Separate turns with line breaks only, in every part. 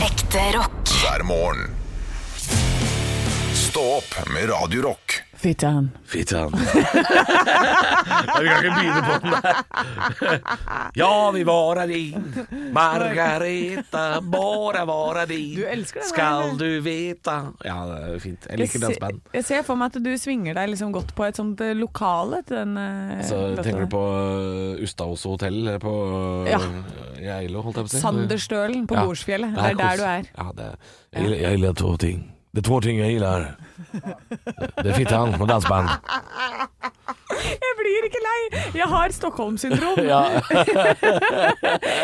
Ekte rock.
hver morgen. Stå opp med Radio Rock.
Fittan.
Fittan. vi kan ikke begynne på den der. ja, vi vara din, Margareta, bara vara din.
Du elsker den
Skal
veien,
du veta Ja, det er fint. Jeg liker
jeg,
dans
se-
band.
jeg ser for meg at du svinger deg liksom godt på et sånt eh, lokale til den eh,
Så
låta
Altså, tenker
der.
du på øh, Ustaoset hotell på øh,
Ja.
Geilo, holdt jeg på å si.
Sanderstølen på
Ja,
Bordsfjellet.
det
Det er der du er.
kos. Ja, det er. Jeg, gillar- jeg gillar to ting. Det er to ting jeg gillar. Det er Fittan og dansband.
Jeg blir ikke lei! Jeg har Stockholm-syndrom.
Ja.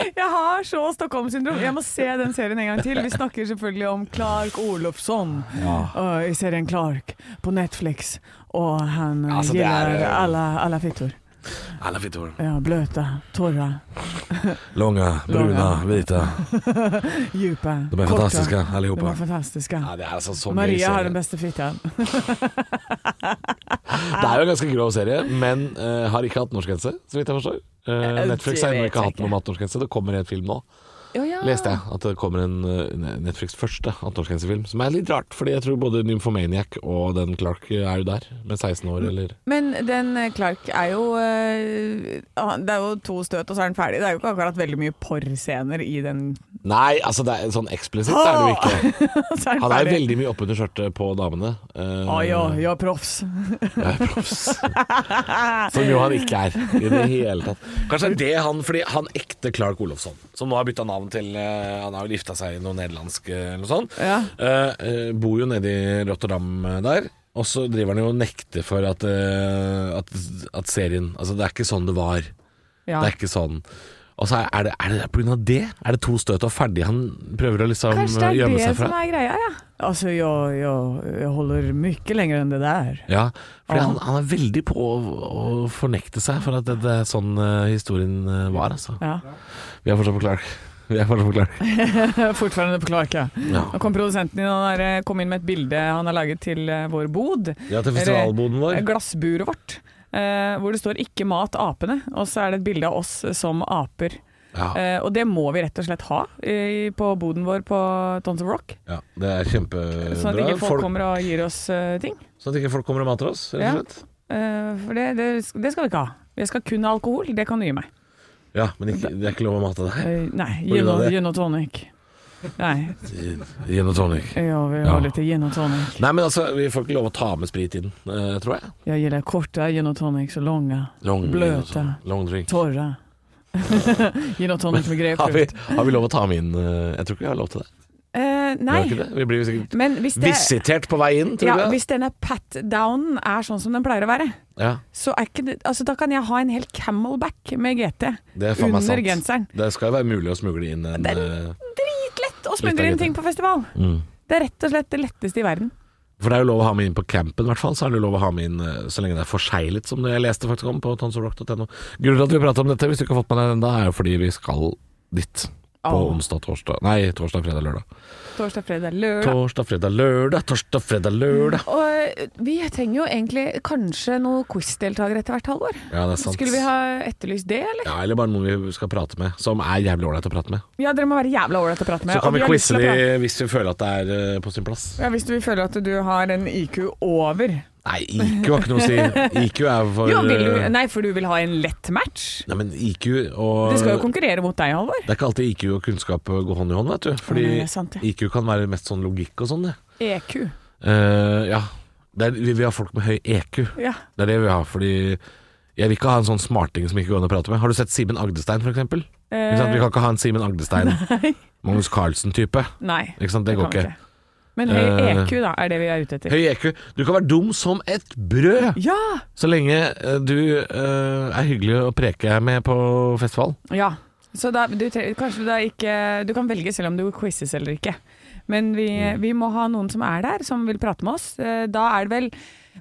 Jeg har så Stockholm-syndrom. Jeg må se den serien en gang til. Vi snakker selvfølgelig om Clark Olofsson øh, i serien Clark på Netflix. Og han øh,
Altså, det
gillar
er, øh,
alle, alle fittor.
Alla fittor.
Ja, bløte, torre,
Lange, bruna,
Långa.
hvite.
djupe,
De er
korte.
fantastiske, allihopa.
De er fantastiske.
Ja, det er altså så gøy
Maria
serie.
har den beste fitta.
Det er jo en ganske grov serie, men eh, har ikke hatt norskgrense, så vidt jeg forstår. Eh,
det
Netflix har ennå
vet
ikke
jeg
hatt noe
ikke.
med hatt norskgrense. Det kommer en film nå, leste jeg. At det kommer en eh, Netflix første hatt norskgrensefilm. Som er litt rart, fordi jeg tror både Nymphomaniac og den Clark eh, er jo der, med 16 år eller
Men den eh, Clark er jo eh, ah, Det er jo to støt, og så er den ferdig. Det er jo ikke akkurat veldig mye porrscener i den.
Nei, altså det er sånn eksplisitt er det jo ikke.
så er den
Han er jo
ferdig.
veldig mye oppunder skjørtet på damene. eh,
Å ja, ja, proffs.
Ja, proffs. Som jo han ikke er i det hele tatt. Kanskje det er han fordi han ekte Clark Olofsson, som nå har bytta navn til eh, Han har jo gifta seg i noe nederlandsk eh, eller noe sånt.
Ja.
Eh, eh, bor jo nede i Rotterdam eh, der. Og så driver han jo og nekter for at, eh, at, at serien Altså, det er ikke sånn det var.
Ja.
Det er ikke sånn. Og så er- er det, er det på grunn av det? Er det to støt og ferdig han prøver å liksom
Kanskje det
eh,
er
gjemme
det
seg fra?
som er greia, ja. Altså, jeg, jeg, jeg holder mye lenger enn det der.
Ja, for
Ja.
han, han er veldig på å, å fornekte seg for at det, det er sånn eh, historien eh, var, altså.
Ja.
Vi er fortsatt på Clark. Vi er fortsatt på Clark.
Fortfarande på Clark, ja.
Ja,
Nå kom produsenten din og han der, eh, kom inn med et bilde han har laget til eh, vår bod.
til festivalboden vår.
Eh, Glassburet vårt. eh, hvor det står 'ikke mat apene', og så er det et bilde av oss som aper.
Ja,
Eh, og det må vi rett og slett ha eh, på boden vår på Tons of Rock.
ja, det er kjempebra.
Sånn at ikke folk
Eh, Folk-
kommer og gir oss eh, ting.
sånn at ikke folk kommer og mater oss, rett og
Ja.
slett.
Eh, for det, det, det skal vi ikke ha. Jeg skal kun ha alkohol, det kan du gi meg.
Ja, men ikke, det er ikke lov å mate deg.
Eh, nei,
Hvor
gin
er
og,
det?
gin og tonic. Nei,
Gin og tonic.
jeg vil
Ja.
ha litt gin og tonic.
Nei, men altså, vi får ikke lov å ta med sprit inn, eh, tror jeg.
Jeg liker korte gin og tonics og lange,
Long,
Bløte.
Long drink.
tørre. gin og tonic med
Har vi,
grepfrukt.
har vi lov å ta med inn eh, Jeg tror ikke vi har lov til det.
Eh,
Vi har
nei,
ikke det. Vi blir sikkert
men hvis det
visitert på vei inn, tror
ja,
du det?
hvis denne pat-downen er sånn som den pleier å være,
Ja,
så er ikke det altså, Da kan jeg ha en hel camelback med GT
det er faen meg
under
sant.
genseren.
Det skal jo være mulig å smugle inn en
Det er-
eh,
Dritlett å
Litt av
smugle inn
GT.
ting på festival.
mm.
Det er rett og slett det letteste i verden.
For det er jo lov å ha med inn på campen, i hvert fall. Så er det jo lov å ha med inn eh, så lenge det er forseglet, som det jeg leste faktisk om på tonsorrock.no. Grunnen til at vi prater om dette, hvis du ikke har fått med deg det ennå, er jo fordi vi skal dit. På
Åh.
onsdag, torsdag Nei, torsdag, fredag, lørdag.
Torsdag, fredag, lørdag.
Torsdag, fredag, lørdag, torsdag, fredag, lørdag.
Og eh, vi trenger jo egentlig kanskje noen quizdeltakere etter hvert halvår.
Ja, det er sant.
Mm. Skulle vi ha etterlyst det, eller?
Ja, eller bare noen vi skal prate med, som er jævlig ålreit å prate med.
Ja, dere må være jævla ålreite å prate med.
Så kan
og
vi
har lyst
quize
til å
de
prate-
hvis vi føler at det er eh, på sin plass.
Ja, Hvis du føler at du har en IQ over
Nei, IQ har ikke noe å si. IQ er for
jo, vil du,
eh,
Nei, for du vil ha en lett match?
Nei, men IQ og
De skal jo konkurrere mot deg, Halvor.
Det er ikke alltid IQ og kunnskap eh, går hånd i hånd, vet du. Fordi
Nei, det er sant, ja. E
IQ kan være mest sånn logikk og sånn, det.
EQ.
Eh, ja. Det er, vi, vi har folk med høy EQ.
Ja.
Det er det vi har, fordi jeg vil ikke ha en sånn smarting som ikke går an å prate med. Har du sett Simen Agdestein, for eksempel? Ikke sant?
Eh,
Vi kan ikke ha en Simen Agdestein, Magnus Carlsen-type.
Nei.
Ikke sant? Det,
kan
går
vi
ikke.
Men høy
Eh,
EQ, da, er det vi er ute etter.
Høy EQ. Du kan være dum som et brød,
Ja!
så lenge eh, du eh, er hyggelig å preke med på festival.
ja. Så da, du, tre- kanskje du da ikke Du kan velge selv om du quizes eller ikke. Men vi,
Mm.
vi må ha noen som er der, som vil prate med oss. Eh, Da er det vel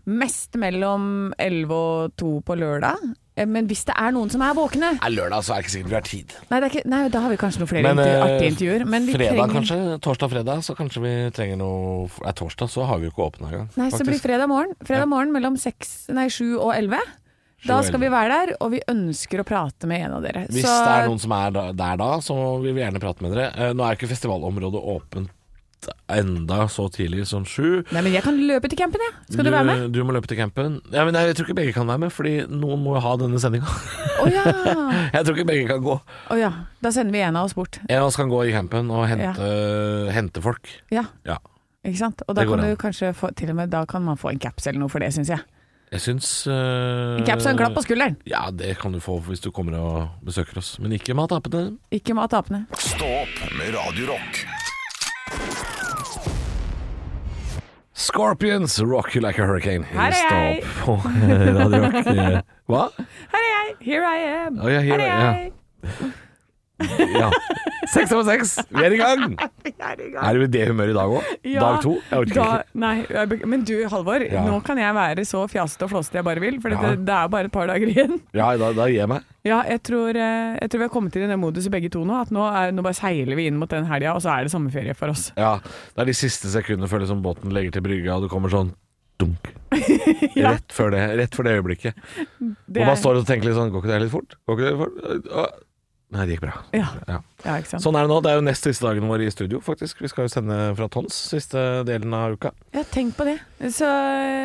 mest mellom 11 og 2 på lørdag. Eh, Men hvis det er noen som er våkne
Nei, lørdag så er det ikke sikkert vi har tid.
Nei, det er ikke, nei da har vi kanskje noen flere
Men,
intervju-
eh,
artige intervjuer. Men vi
fredag
trenger,
kanskje, torsdag-fredag, så kanskje vi trenger noe Nei, torsdag så har vi jo ikke åpna engang.
Nei, så det blir
faktisk.
fredag morgen.
Ja.
Fredag morgen mellom seks, nei, 7 og 11. Da skal vi være der, og vi ønsker å prate med en av dere.
Hvis
Så-
det er noen som er da- der da, så vil vi gjerne prate med dere. Eh, Nå er ikke festivalområdet åpent enda så tidlig som sju.
Nei, men jeg kan løpe til campen, jeg. Skal du, være med?
Du må løpe til campen. Ja, men jeg tror ikke begge kan være med, fordi noen må jo ha denne sendinga.
Å ja.
Jeg tror ikke begge kan gå.
Å ja. Da sender vi en av oss bort.
En av oss kan gå i campen og hente, hente folk.
Ja,
Ja.
ikke sant? Og da
Det går
kan du
an.
kanskje få Til og med da kan man få en caps eller noe for det, syns jeg.
Jeg syns uh,
En caps og en klapp altså. på skulderen.
Ja, det kan du få hvis du kommer og besøker oss. Men ikke mat apene.
Ikke mat apene.
Stå opp med Radio Rock.
Scorpions, rock you like a hurricane.
Her er jeg.
Stå opp på Radio Rock. Eh, Hva?
Her er jeg! Here I am!
Å, ja,
Her
here
er
I- ja.
jeg!
Ja. Seks over seks, vi er i gang!
Vi er i gang.
Er du i det humøret i dag òg?
Ja,
Dag to? Jeg orker
da-
ikke.
Nei, jeg bek- men du Halvor,
Ja.
nå kan jeg være så fjasete og flåsete jeg bare vil, for
Ja.
det, det er bare et par dager igjen.
Ja, da, da gir jeg meg.
Ja, jeg tror, eh, jeg tror vi har kommet til den moduset begge to nå, at nå, er, nå bare seiler vi inn mot den helga, og så er det sommerferie for oss.
Ja, Det er de siste sekundene før liksom båten legger til brygga, og du kommer sånn dunk. Rett før det rett før det øyeblikket.
Det
Og man
er-
står og tenker litt sånn Går ikke det litt fort? Går ikke det litt fort? Åh. Nei, det gikk bra.
Ja.
Ja.
ja, ikke sant.
Sånn er det nå. Det er jo nest siste dagen vår i studio, faktisk. Vi skal jo sende fra Tons siste delen av uka.
Ja, tenk på det. Så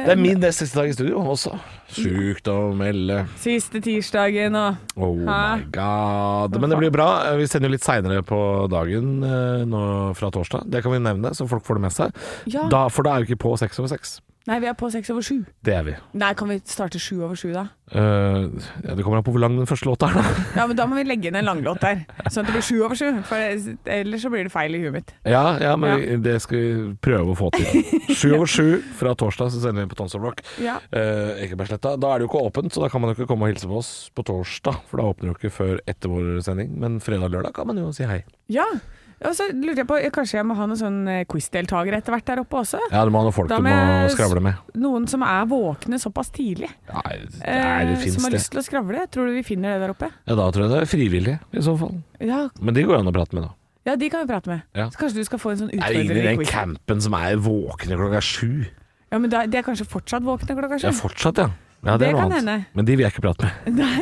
Det er min nest siste dag i studio også. Sjukt å melde.
Siste tirsdagen og
Oh
Hæ?
my god. Men det blir bra. Eh, Vi sender jo litt seinere på dagen eh, nå fra torsdag. Det kan vi nevne, så folk får det med seg.
Ja.
Da, for da er vi ikke på seks over seks.
Nei, vi er på seks over sju.
Det er vi.
Nei, kan vi starte sju over sju, da?
Eh, ja, det kommer an på hvor lang den første låta er, da.
Ja, men Da må vi legge inn en langlåt der, sånn at det blir sju over sju. For det- ellers så blir det feil i huet mitt.
Ja, ja men
Ja.
vi- det skal vi prøve å få til. Sju over sju fra torsdag så sender vi på Tons of Rock.
Ja.
Eh, Ekebergsletta. Da er det jo ikke åpent, så da kan man jo ikke komme og hilse på oss på torsdag. For da åpner det jo ikke før etter vår sending. Men fredag-lørdag kan man jo si hei.
Ja. Og så lurte jeg på, kanskje jeg må ha noen sånn eh, quizdeltakere etter hvert der oppe også?
Ja, du må ha noen folk
Da
du må
må jeg-
skravle med.
Noen som er våkne såpass tidlig,
Nei, det,
eh,
det
som
fins
har
det.
lyst til å skravle. Tror du vi finner det der oppe?
Ja, da tror jeg det er frivillige, i så fall.
Ja,
Men de går jo an å prate med, da.
ja de kan vi prate med.
Ja.
Så kanskje du skal få en sånn
Det er jo ingen
utfordrer
i
i
den
quiz.
campen som er våkne klokka sju.
Ja, men da, de er kanskje fortsatt våkne klokka
Ja,
sju?
fortsatt, ja. ja
Det
det er noe
kan hende.
annet. Men de vil jeg ikke prate med.
Nei,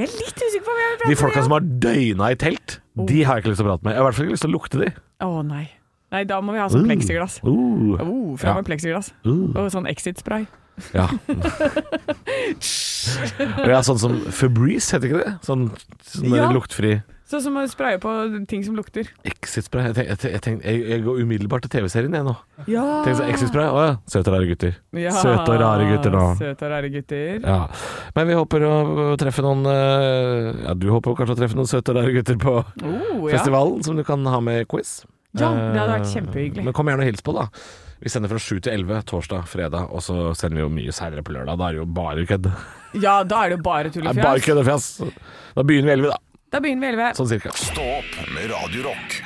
jeg er litt usikker på om jeg vil prate
De folka
med. Oh.
som har døgna i telt, de har jeg ikke lyst til å prate med. Jeg har i hvert fall ikke lyst til å lukte de.
Å nei. Nei, da må vi ha sånn pleksiglass.
Uh,
Oh, fra
Ja.
med pleksiglass.
uh,
Og sånn exit-spray.
ja. Og ja, sånn som Febreze, heter ikke det? Sånn, sånn der
Ja.
luktfri
Sånn som å spraye på ting som lukter.
Exit-spray. Jeg, tenk- jeg, tenk- jeg, tenk- jeg, jeg går umiddelbart til TV-serien, jeg nå.
Ja!
Tenk sånn Exit-spray. Å ja. Søte og rare gutter. Søte og rare gutter nå.
Søte og rare gutter.
Ja. Men vi håper å treffe noen eh, Ja, du håper kanskje å treffe noen søte og rare gutter på
Oh, ja.
festivalen, som du kan ha med quiz.
Ja, det hadde vært
Eh,
kjempehyggelig.
Men kom gjerne og hils på, da. Vi sender fra 7 til 11 torsdag, fredag, og så sender vi jo mye seinere på lørdag. Da er det jo bare kødd.
ja, da er det jo bare tull
Nei,
og
Bare
fjas.
kødd og fjas. Da begynner vi 11, da.
Da begynner vi elleve.
Sånn cirka.
Stå opp med Radio Rock.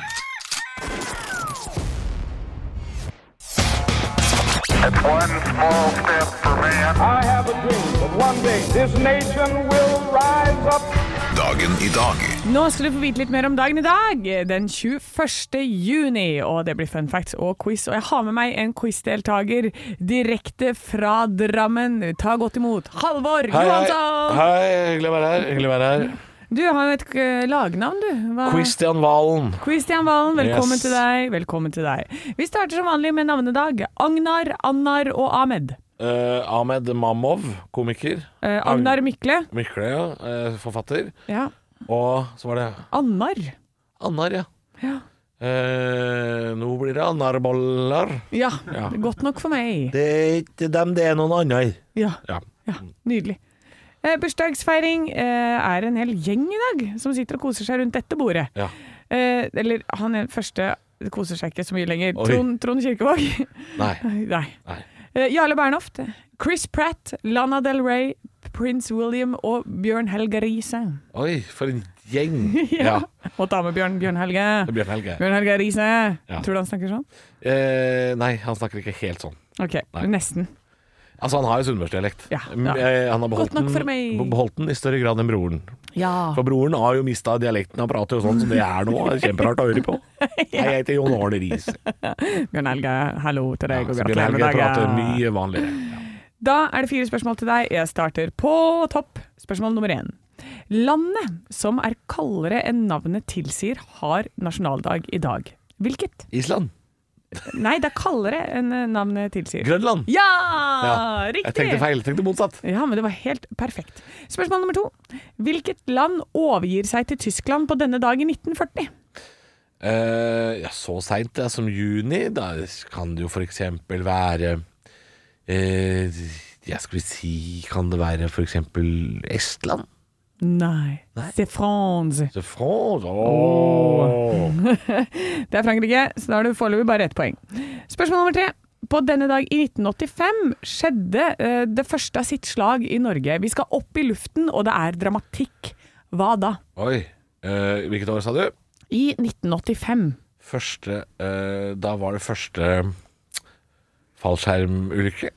One small step for man.
I have a dream that one day this nation will rise up.
Dagen i dag.
Nå skal du få vite litt mer om dagen i dag, den 21. juni. Og det blir fun facts og quiz. Og jeg har med meg en quizdeltaker direkte fra Drammen. Ta godt imot Halvor
Hei, hei.
Johansson!
hei. Hyggelig å være her. Hyggelig å være her.
Du har jo et eh, lagnavn, du. Hva-
Christian Valen.
Christian Valen, velkommen
Yes.
til deg. Velkommen til deg. Vi starter som vanlig med navnedag. Agnar, Annar og Ahmed.
Eh, Ahmed Mamov, komiker.
Eh, Agnar Mykle.
Mykle, ja. Eh, forfatter.
Ja.
Og så var det
Annar.
Annar, ja.
Ja.
Eh, nå blir det anarboller.
ja.
Ja.
Godt nok for meg.
Det er ikke dem, det er noen andre.
Ja.
Ja.
ja. Nydelig. Eh, bursdagsfeiring eh, er en hel gjeng i dag som sitter og koser seg rundt dette bordet.
Ja.
Eh, eller han er den første koser seg ikke så mye lenger.
Oi.
Trond, Trond Kirkevåg.
Nei.
Nei.
Nei.
Eh, Jarle Bernhoft. Chris Pratt, Lana Del Rey, Prince William og Bjørn Helge Riise.
Oi, for en gjeng.
Ja. Og damebjørn Bjørn Helge.
Det er Bjørn Helge.
Bjørn Helge Riise.
Ja.
Tror du han snakker sånn?
Eh, nei, han snakker ikke helt sånn.
Ok,
Nei.
nesten.
Altså, han har jo sunnmørsdialekt.
Ja,
M-
ja.
eh, Han har beholdt
Godt nok for meg.
den, beholdt den i større grad enn broren.
Ja.
For broren har jo mista dialekten og prater jo sånn som det er nå. Det er Kjemperart å høre på. Hei, jeg heter Jon Arne Riis.
Bjørn Helge, hallo til
Ja,
deg,
så
og
Bjørn
gratulerer
Helge
med
prater
dagen.
mye vanligere.
Da er det fire spørsmål til deg. Jeg starter på topp. Spørsmål nummer én. Landet som er kaldere enn navnet tilsier, har nasjonaldag i dag. Hvilket?
Island.
Nei, det er kaldere enn eh, navnet tilsier.
Grønland.
Ja!
Ja,
Riktig!
Jeg tenkte feil. Jeg tenkte motsatt.
Ja, men det var helt perfekt. Spørsmål nummer to. Hvilket land overgir seg til Tyskland på denne dag i 1940?
Eh, ja, så seint som juni, da kan det jo for eksempel være eh, Jeg skulle si Kan det være for eksempel Estland?
Nei. C'est France.
De France? Åh.
Det er Frankrike, så da har du foreløpig bare ett poeng. Spørsmål nummer tre. På denne dag i 1985 skjedde eh, det første av sitt slag i Norge. Vi skal opp i luften, og det er dramatikk. Hva da?
Oi. Eh, hvilket år sa du?
I 1985.
Første eh, Da var det første fallskjermulykke?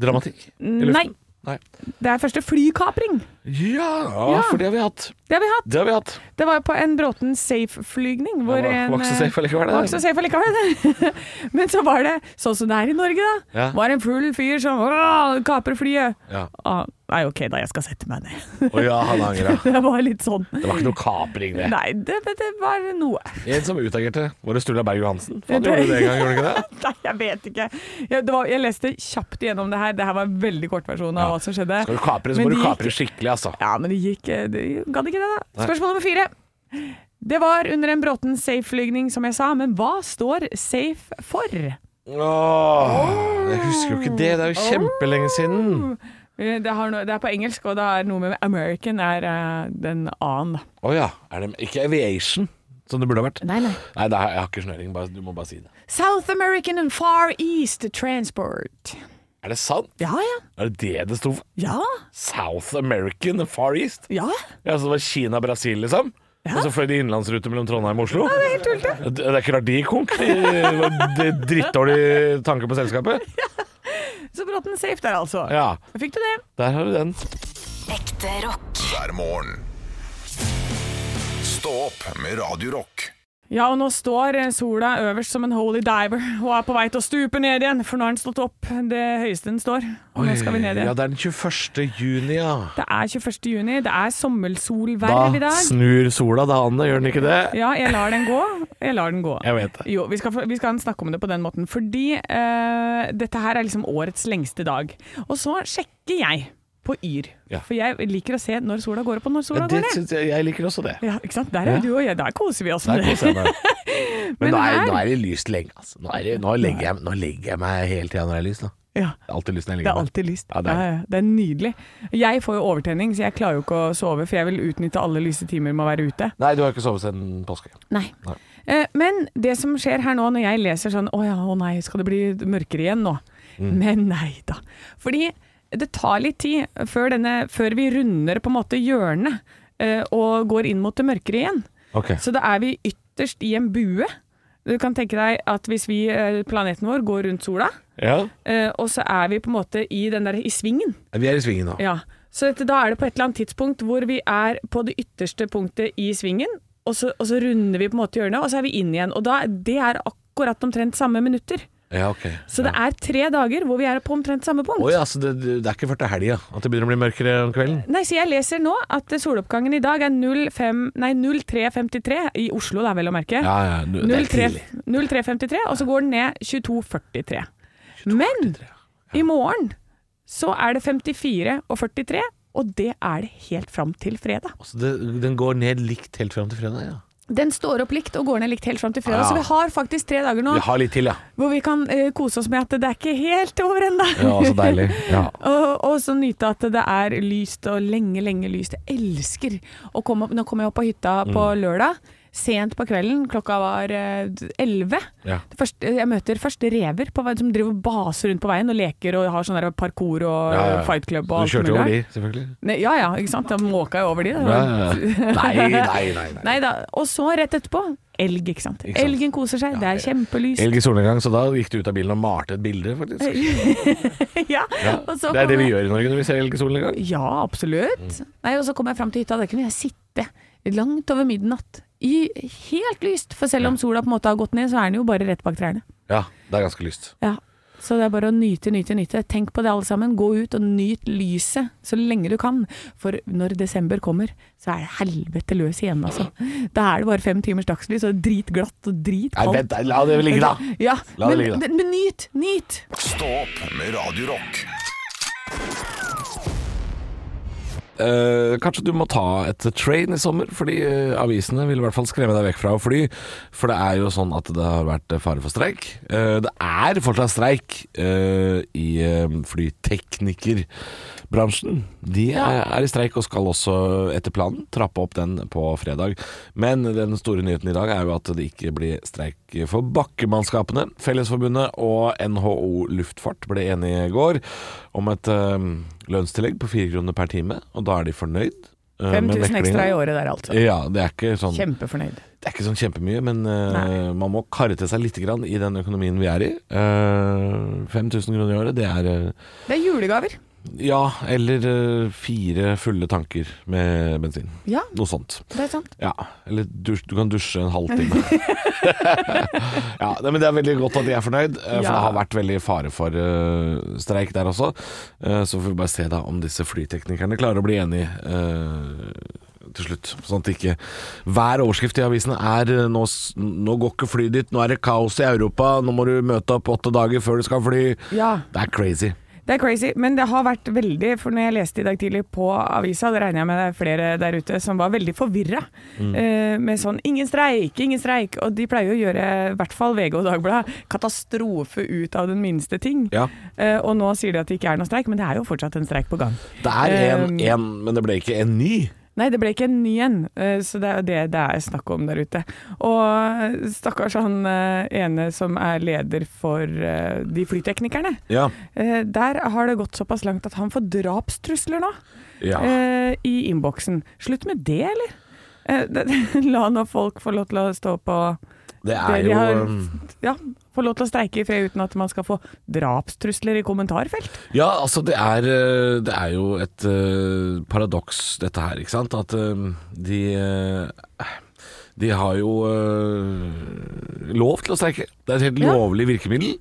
Dramatikk? i luften?
Nei.
Nei.
Det er første flykapring.
Ja,
Ja.
for det har vi hatt.
Det har vi hatt.
Det har vi hatt.
Det var på en Bråten safe-flygning.
Det
Hvor
var,
en,
var ikke så safe allikevel.
Det var ikke så safe allikevel. Men så var det sånn som det er i Norge, da.
Ja.
Var en full fyr som «Åh, kaper flyet.
Ja.
Ah, nei, OK, da. Jeg skal sette meg ned.
Å ja, han angra.
Det var litt sånn.
Det var ikke noe kapring, det.
Nei, det, det, det var noe.
En som utagerte. Var det Sturla Berg Johansen? Faen, gjorde du det en gang, gjorde du ikke det?
Nei, jeg vet ikke. Jeg, det var, jeg leste kjapt igjennom det her. Det her var en veldig kort versjon av
Ja.
hva som skjedde.
Skal du kapre, så
Men
må du
det gikk-
kapre skikkelig, altså.
Ja, men det gikk eh, Det gadd ikke det, da. Spørsmål nummer fire. Det var under en Bråten safe-flygning, som jeg sa, men hva står safe for? Eh,
Åh, jeg husker jo ikke det. Det er jo kjempelenge siden.
Eh, Det, har noe- det er på engelsk, og det er noe med American er eh, den a-en. da.
Å ja. Er det ikke aviation, som det burde ha vært?
Nei, nei.
Nei, det er, jeg har ikke snøring. Bare, du må bare si det.
South American and Far East Transport.
Er det sant?
Ja, ja.
Er det det det sto for?
Ja.
South American and Far East?
ja.
Ja, Så det var Kina-Brasil, liksom? Og så fløy de innenlandsrute mellom Trondheim og Oslo? Ja, Det er helt tullete. Det er ikke rart de konk. De var drittdårlig tanke på selskapet.
Så Bråten safe der, altså.
Ja,
Fikk du det?
der har du den.
Ekte rock.
hver morgen. Stå opp med Radio Rock.
Ja, og nå står eh, sola øverst som en holy diver og er på vei til å stupe ned igjen, for nå har den stått opp det høyeste den står. Og nå skal vi ned
Ja,
igjen.
det er den 21. juni, ja.
Det er 21. juni, det er sommersolverv i
Da
dag.
snur sola da, Anne, gjør den ikke det?
Ja, jeg lar den gå. Jeg lar den gå.
Jeg vet det.
Jo, vi skal, få- vi skal snakke om det på den måten, fordi eh, dette her er liksom årets lengste dag. Og så sjekker jeg på Yr,
Ja.
for jeg liker å se når sola går opp og når sola
Ja, det
går ned.
syns jeg, jeg liker også det.
Ja, ikke sant? Der er
Ja.
du og jeg, der koser vi oss
Der
med det.
koser jeg meg. Men
Men
nå er,
her-
nå er det lyst lenge, altså. Nå, er det, nå, legger, jeg, nå legger jeg meg hele tida når det er lyst. da.
Ja.
Det er alltid lyst når jeg
Det
legger
er
meg.
alltid lyst.
Ja, det er det.
Ja, ja, det er nydelig. Jeg får jo overtenning, så jeg klarer jo ikke å sove, for jeg vil utnytte alle lyse timer med å være ute.
Nei, du har ikke sovet siden påske.
Nei. Eh, Men det som skjer her nå, når jeg leser sånn Å ja, å nei, skal det bli mørkere igjen nå?
Mm.
Men nei da. Fordi det tar litt tid før, denne, før vi runder på en måte hjørnet eh, og går inn mot det mørkere igjen.
Ok.
Så da er vi ytterst i en bue. Du kan tenke deg at hvis vi, eh, planeten vår, går rundt sola,
Ja,
eh, og så er vi på en måte i den der i svingen.
Vi er i svingen nå.
Ja, så dette, da er det på et eller annet tidspunkt hvor vi er på det ytterste punktet i svingen, og så, og så runder vi på en måte hjørnet, og så er vi inn igjen. Og da, det er akkurat omtrent samme minutter.
Ja, ok.
Så det er tre dager hvor vi er på omtrent samme punkt.
Å ja, så det, det er ikke før til helga at det begynner å bli mørkere om kvelden?
Nei, så jeg leser nå at soloppgangen i dag er 05 nei, 03.53 i Oslo, det er vel å merke.
Ja, ja, nu- det er
03
tidlig.
03.53, og så går den ned 22.43. Men i morgen så er det 54 og 43, og det er det helt fram til fredag.
Altså, det, den går ned likt helt fram til fredag, ja.
Den står opp likt og går ned likt helt fram til fredag.
Ja.
Så vi har faktisk tre dager nå
Vi har litt til, ja.
hvor vi kan eh, kose oss med at det er ikke helt over ennå.
så deilig. Ja.
og, og så nyte at det er lyst og lenge, lenge lyst. Jeg elsker å komme opp. Nå kom jeg opp på hytta
Mm.
på lørdag. Sent på kvelden, klokka var eh, elleve.
Ja.
Jeg møter først rever på, veien som driver og baser rundt på veien og leker og har sånn der parkour og
Ja, ja.
eh, fight club og
Du kjørte
mulig
jo over
rart.
de, selvfølgelig.
Nei, ja ja, ikke sant. Da måka jeg over de. da.
Ja, ja, ja. Nei, nei, nei. nei.
Nei da. Og så rett etterpå, elg, ikke sant.
Ikke sant.
Elgen koser seg, det er kjempelyst.
Elg i solnedgang, så da gikk du ut av bilen og malte et bilde, faktisk.
ja, og så
Det er det
kommer-
vi gjør Mm. i Norge når vi ser elg i solnedgang.
Ja, absolutt. Nei, og så kom jeg fram til hytta, der kunne jeg sitte langt over midnatt. I helt lyst, for selv om sola på en måte har gått ned, så er den jo bare rett bak trærne.
Ja, det er ganske lyst.
Ja. Så det er bare å nyte, nyte, nyte. Tenk på det alle sammen. Gå ut og nyt lyset så lenge du kan. For når desember kommer, så er det helvete løs igjen, altså. Da er det bare fem timers dagslys, og det er dritglatt og
Nei,
dritkaldt.
vent, la det ligge, da.
Ja,
La det
men,
ligge, da.
men, men nyt! Nyt!
Stå opp med Radio Rock.
Eh, kanskje du må ta et train i sommer, fordi eh, avisene vil i hvert fall skremme deg vekk fra å fly. For det er jo sånn at det har vært eh, fare for streik. Eh, det er fortsatt streik eh, i eh, flyteknikerbransjen. De er, er i streik og skal også etter planen trappe opp den på fredag. Men den store nyheten i dag er jo at det ikke blir streik for bakkemannskapene. Fellesforbundet og NHO Luftfart ble enige i går om et eh, lønnstillegg på fire kroner per time, og da er de fornøyd. eh, med
5000 ekstra i
meklinga.
året der, altså.
Ja, det er ikke sånn
Kjempefornøyd.
det er ikke sånn kjempemye, men eh,
Nei.
man må karre til seg litt grann i den økonomien vi er i. Eh, 5000 kroner i året, det er eh,
Det er julegaver.
Ja, eller eh, fire fulle tanker med bensin.
Ja,
Noe sånt.
det er sant.
Ja, Eller dusj, du kan dusje en halvtime. ja, nei, men Det er veldig godt at de er fornøyd, eh, for
Ja.
det har vært veldig fare for eh, streik der også. Eh, så får vi bare se da om disse flyteknikerne klarer å bli enige eh, til slutt. Sånn at ikke hver overskrift i avisen er eh, nå, s- 'Nå går ikke fly dit, nå er det kaos i Europa, nå må du møte opp åtte dager før du skal fly'.
Ja.
Det er crazy.
Det er crazy, men det har vært veldig For når jeg leste i dag tidlig på avisa, det regner jeg med det er flere der ute som var veldig forvirra.
Mm.
eh, med sånn 'ingen streik, ingen streik'. Og de pleier å gjøre, i hvert fall VG og Dagbladet, katastrofe ut av den minste ting.
Ja.
Eh, og nå sier de at det ikke er noe streik, men det er jo fortsatt en streik på gang.
Det er en,
Um,
en, men det ble ikke en ny.
Nei, det ble ikke en ny en, eh, så det er jo det det er snakk om der ute. Og stakkars han eh, ene som er leder for eh, de flyteknikerne.
Ja.
Eh, Der har det gått såpass langt at han får drapstrusler nå,
Ja.
eh, i innboksen. Slutt med det, eller? Eh, det- La nå folk få lov til å stå på
Det er
de
jo
har-
um,
Ja, få lov til å streike i fred uten at man skal få drapstrusler i kommentarfelt.
Ja, altså det er, eh, det er jo et eh, paradoks dette her, ikke sant? At eh, de eh, De har jo eh, lov til å streike. Det er et helt
Ja.
lovlig virkemiddel.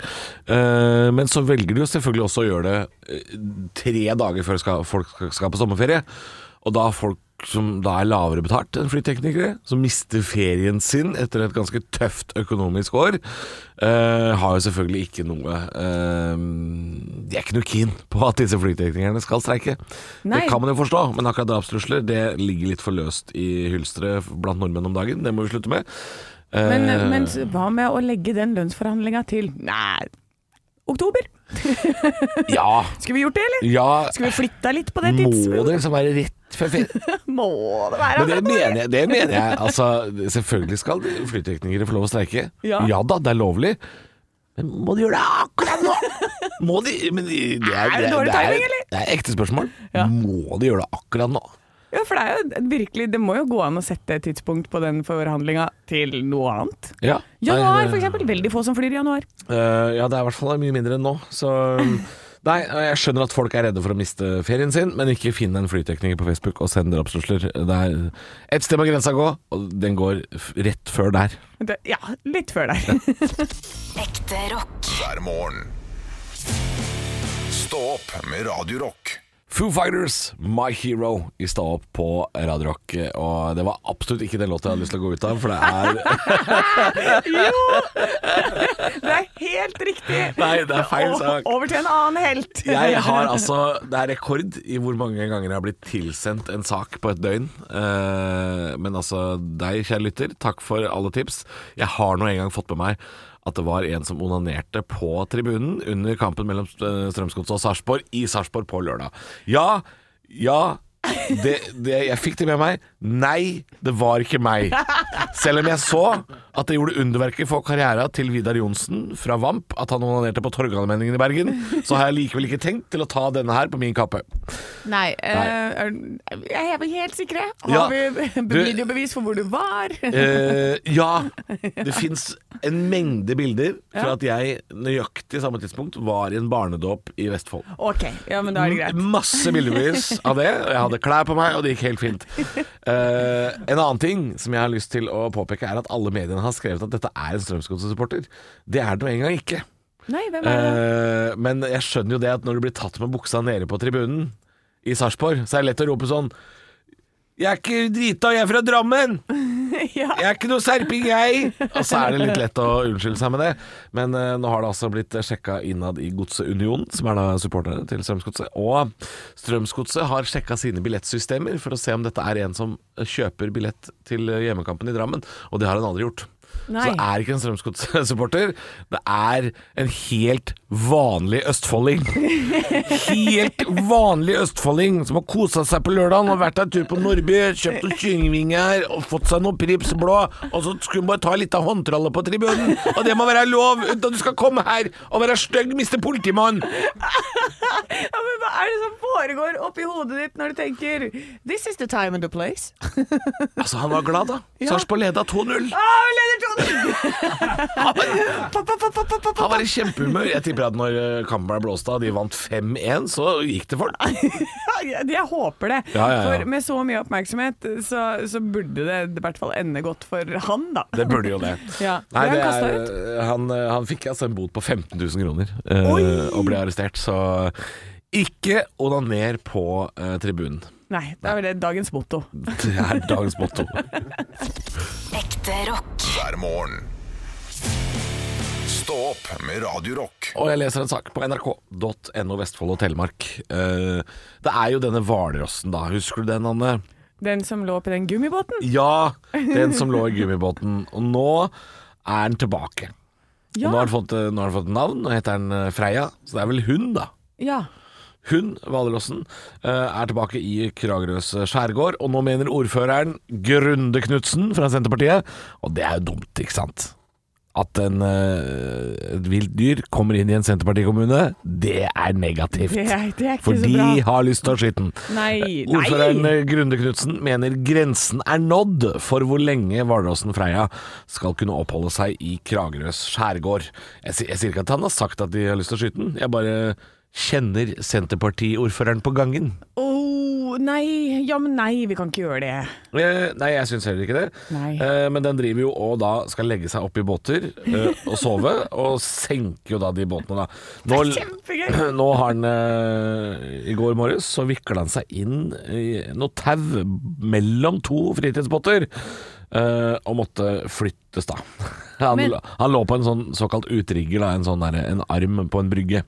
Eh, men så velger du selvfølgelig også å gjøre det eh, tre dager før skal, folk skal- skal på sommerferie. Og da har folk som da er lavere betalt enn flyteknikere, som mister ferien sin etter et ganske tøft økonomisk år, eh, har jo selvfølgelig ikke noe eh, De er ikke noe keen på at disse flyteknikerne skal streike.
Nei.
Det kan man jo forstå, men akkurat drapstrusler det ligger litt for løst i hylsteret blant nordmenn om dagen. Det må vi slutte med. Eh,
Men, men s- hva med å legge den lønnsforhandlinga til Nei, oktober?
ja,
Skulle vi gjort det, eller?
ja
Skulle vi flytta litt på det
Må det
tidsrommet?
liksom være rett før ferie?
Må det være
Men det mener jeg. Det mener jeg. Altså, selvfølgelig skal flyteknikere få lov å streike.
Ja.
da, det er lovlig. Men må de gjøre det akkurat nå? Må de men de, det er,
Er det dårlig timing, eller?
Det er ekte spørsmål.
Ja.
Må de gjøre det akkurat nå?
Ja, for det er jo virkelig Det må jo gå an å sette et tidspunkt på den forhandlinga til noe annet.
Ja.
Januar,
Nei,
for
det-
eksempel. Veldig få som flyr i januar.
Eh, ja, det er i hvert fall mye mindre enn nå. Så um, Nei, eh, jeg skjønner at folk er redde for å miste ferien sin, men ikke finn en flytekniker på Facebook og send drapstrusler. Det er ett sted må grensa gå, og den går f- rett før der.
Det, ja, litt før der.
Ekte rock.
hver morgen. Stå opp med Radio Rock.
Foo Fighters, My Hero, i stad opp på Radio Rock. Og det var absolutt ikke den låta jeg hadde lyst til å gå ut av, for det er
Det er helt riktig!
Nei, det er feil sak.
O- Over til en annen helt.
Jeg har altså Det er rekord i hvor mange ganger jeg har blitt tilsendt en sak på et døgn. Eh, men altså, deg, kjære lytter, takk for alle tips. Jeg har nå en gang fått med meg at det var en som onanerte på tribunen under kampen mellom eh, Strømsgodset og Sarpsborg i Sarpsborg på lørdag. Ja, ja. Det, det, jeg fikk det med meg. Nei, det var ikke meg. Selv om jeg så at det gjorde underverker for karriera til Vidar Johnsen fra Vamp at han onanerte på Torgallmenningen i Bergen, så har jeg likevel ikke tenkt til å ta denne her på min kappe.
Nei, eh, er- jeg er helt sikre.
Ja.
Har vi
Du-
videobevis for hvor du var?
Eh, ja, det fins en mengde bilder fra at jeg nøyaktig samme tidspunkt var i en barnedåp i Vestfold.
Ok, ja, men da er det greit.
M- Masse bildebevis av det. Og jeg hadde klær på meg, og det gikk helt fint. Eh, en annen ting som jeg har lyst til å påpeke, er at alle mediene har skrevet at dette er en Strømsgodset-supporter. Det er det nå engang ikke.
Nei, hvem er det? da?
Eh, men jeg skjønner jo det at når du blir tatt med buksa nede på tribunen i Sarpsborg, så er det lett å rope sånn Jeg er ikke drita, jeg er fra Drammen!
ja.
Jeg er ikke noe serping, jeg! Og så er det litt lett å unnskylde seg med det. Men eh, nå har det altså blitt sjekka innad i Godset Union, som er da supportere til Strømsgodset. Og Strømsgodset har sjekka sine billettsystemer for å se om dette er en som kjøper billett til hjemmekampen i Drammen. Og det har han aldri gjort.
Nei.
Så det er ikke en Strømsgodset-supporter. Det er en helt vanlig østfolding. Helt vanlig østfolding som har kosa seg på lørdagen og vært en tur på Nordby, kjøpt noen kyllingvinger og fått seg noen Prips blå, og så skulle hun bare ta en liten håndtralle på tribunen. Og det må være lov, uten at du skal komme her og være stygg, mister politimann.
ja, men Hva er det som foregår oppi hodet ditt når du tenker This is the time and the place.
Altså, han var glad, da. Sarpsborg leda 2-0.
Ah, vi leder 2-0!
Han var-
Pa, pa, pa, pa, pa, pa, pa.
han var i kjempehumør. Jeg tipper at når eh, kampen ble blåst av, de vant 5-1, så gikk det for ham.
Ja, Jeg håper det.
Ja, ja, ja.
For med så mye oppmerksomhet så, så burde det i hvert fall ende godt for han, da.
Det burde jo det.
Ja.
Nei,
Ble
det
han
er,
kastet
han, han fikk altså en bot på 15 000 kroner eh, og ble arrestert, så ikke onaner på eh, tribunen.
Nei, det er vel det dagens motto.
Det er dagens motto.
Ekte rock.
hver morgen. Stå opp med Radio Rock.
Og jeg leser en sak på nrk.no Vestfold og Telemark. Eh, det er jo denne hvalrossen, da. Husker du den, Anne?
Den som lå oppi den gummibåten.
Ja! Den som lå i gummibåten. Og nå er den tilbake. Og
Ja.
Nå, har den fått, eh, nå har den fått navn, og heter den eh, Freya. Så det er vel hun, da.
ja.
Hun, Hvalrossen, eh, er tilbake i Kragerøs eh, skjærgård, og nå mener ordføreren Grunde Knutsen fra Senterpartiet, og det er jo dumt, ikke sant? At en, eh, et vilt dyr kommer inn i en Senterpartikommune, det er negativt.
Det er- det er ikke
For
så
de
bra.
har lyst til å skyte den.
Nei,
Ordføreren
nei.
eh, Grunde Knutsen mener grensen er nådd for hvor lenge hvalrossen Freia skal kunne oppholde seg i Kragerøs skjærgård. Jeg, si- jeg sier ikke at han har sagt at de har lyst til å skyte den, jeg bare kjenner Senterpartiordføreren på gangen.
Oh, nei. Ja, men nei, vi kan ikke gjøre det.
Eh, Nei, jeg syns heller ikke det.
Nei.
Eh, Men den driver jo og da skal legge seg opp i båter eh, og sove, og senker jo da de båtene, da. Nå,
Det er kjempegøy.
Nå har han eh, I går morges så vikla han seg inn i noe tau mellom to fritidsbåter. eh, og måtte flyttes, da. Han,
Men-
han lå på en sånn såkalt utrigger, da, en, sånn der, en arm på en brygge.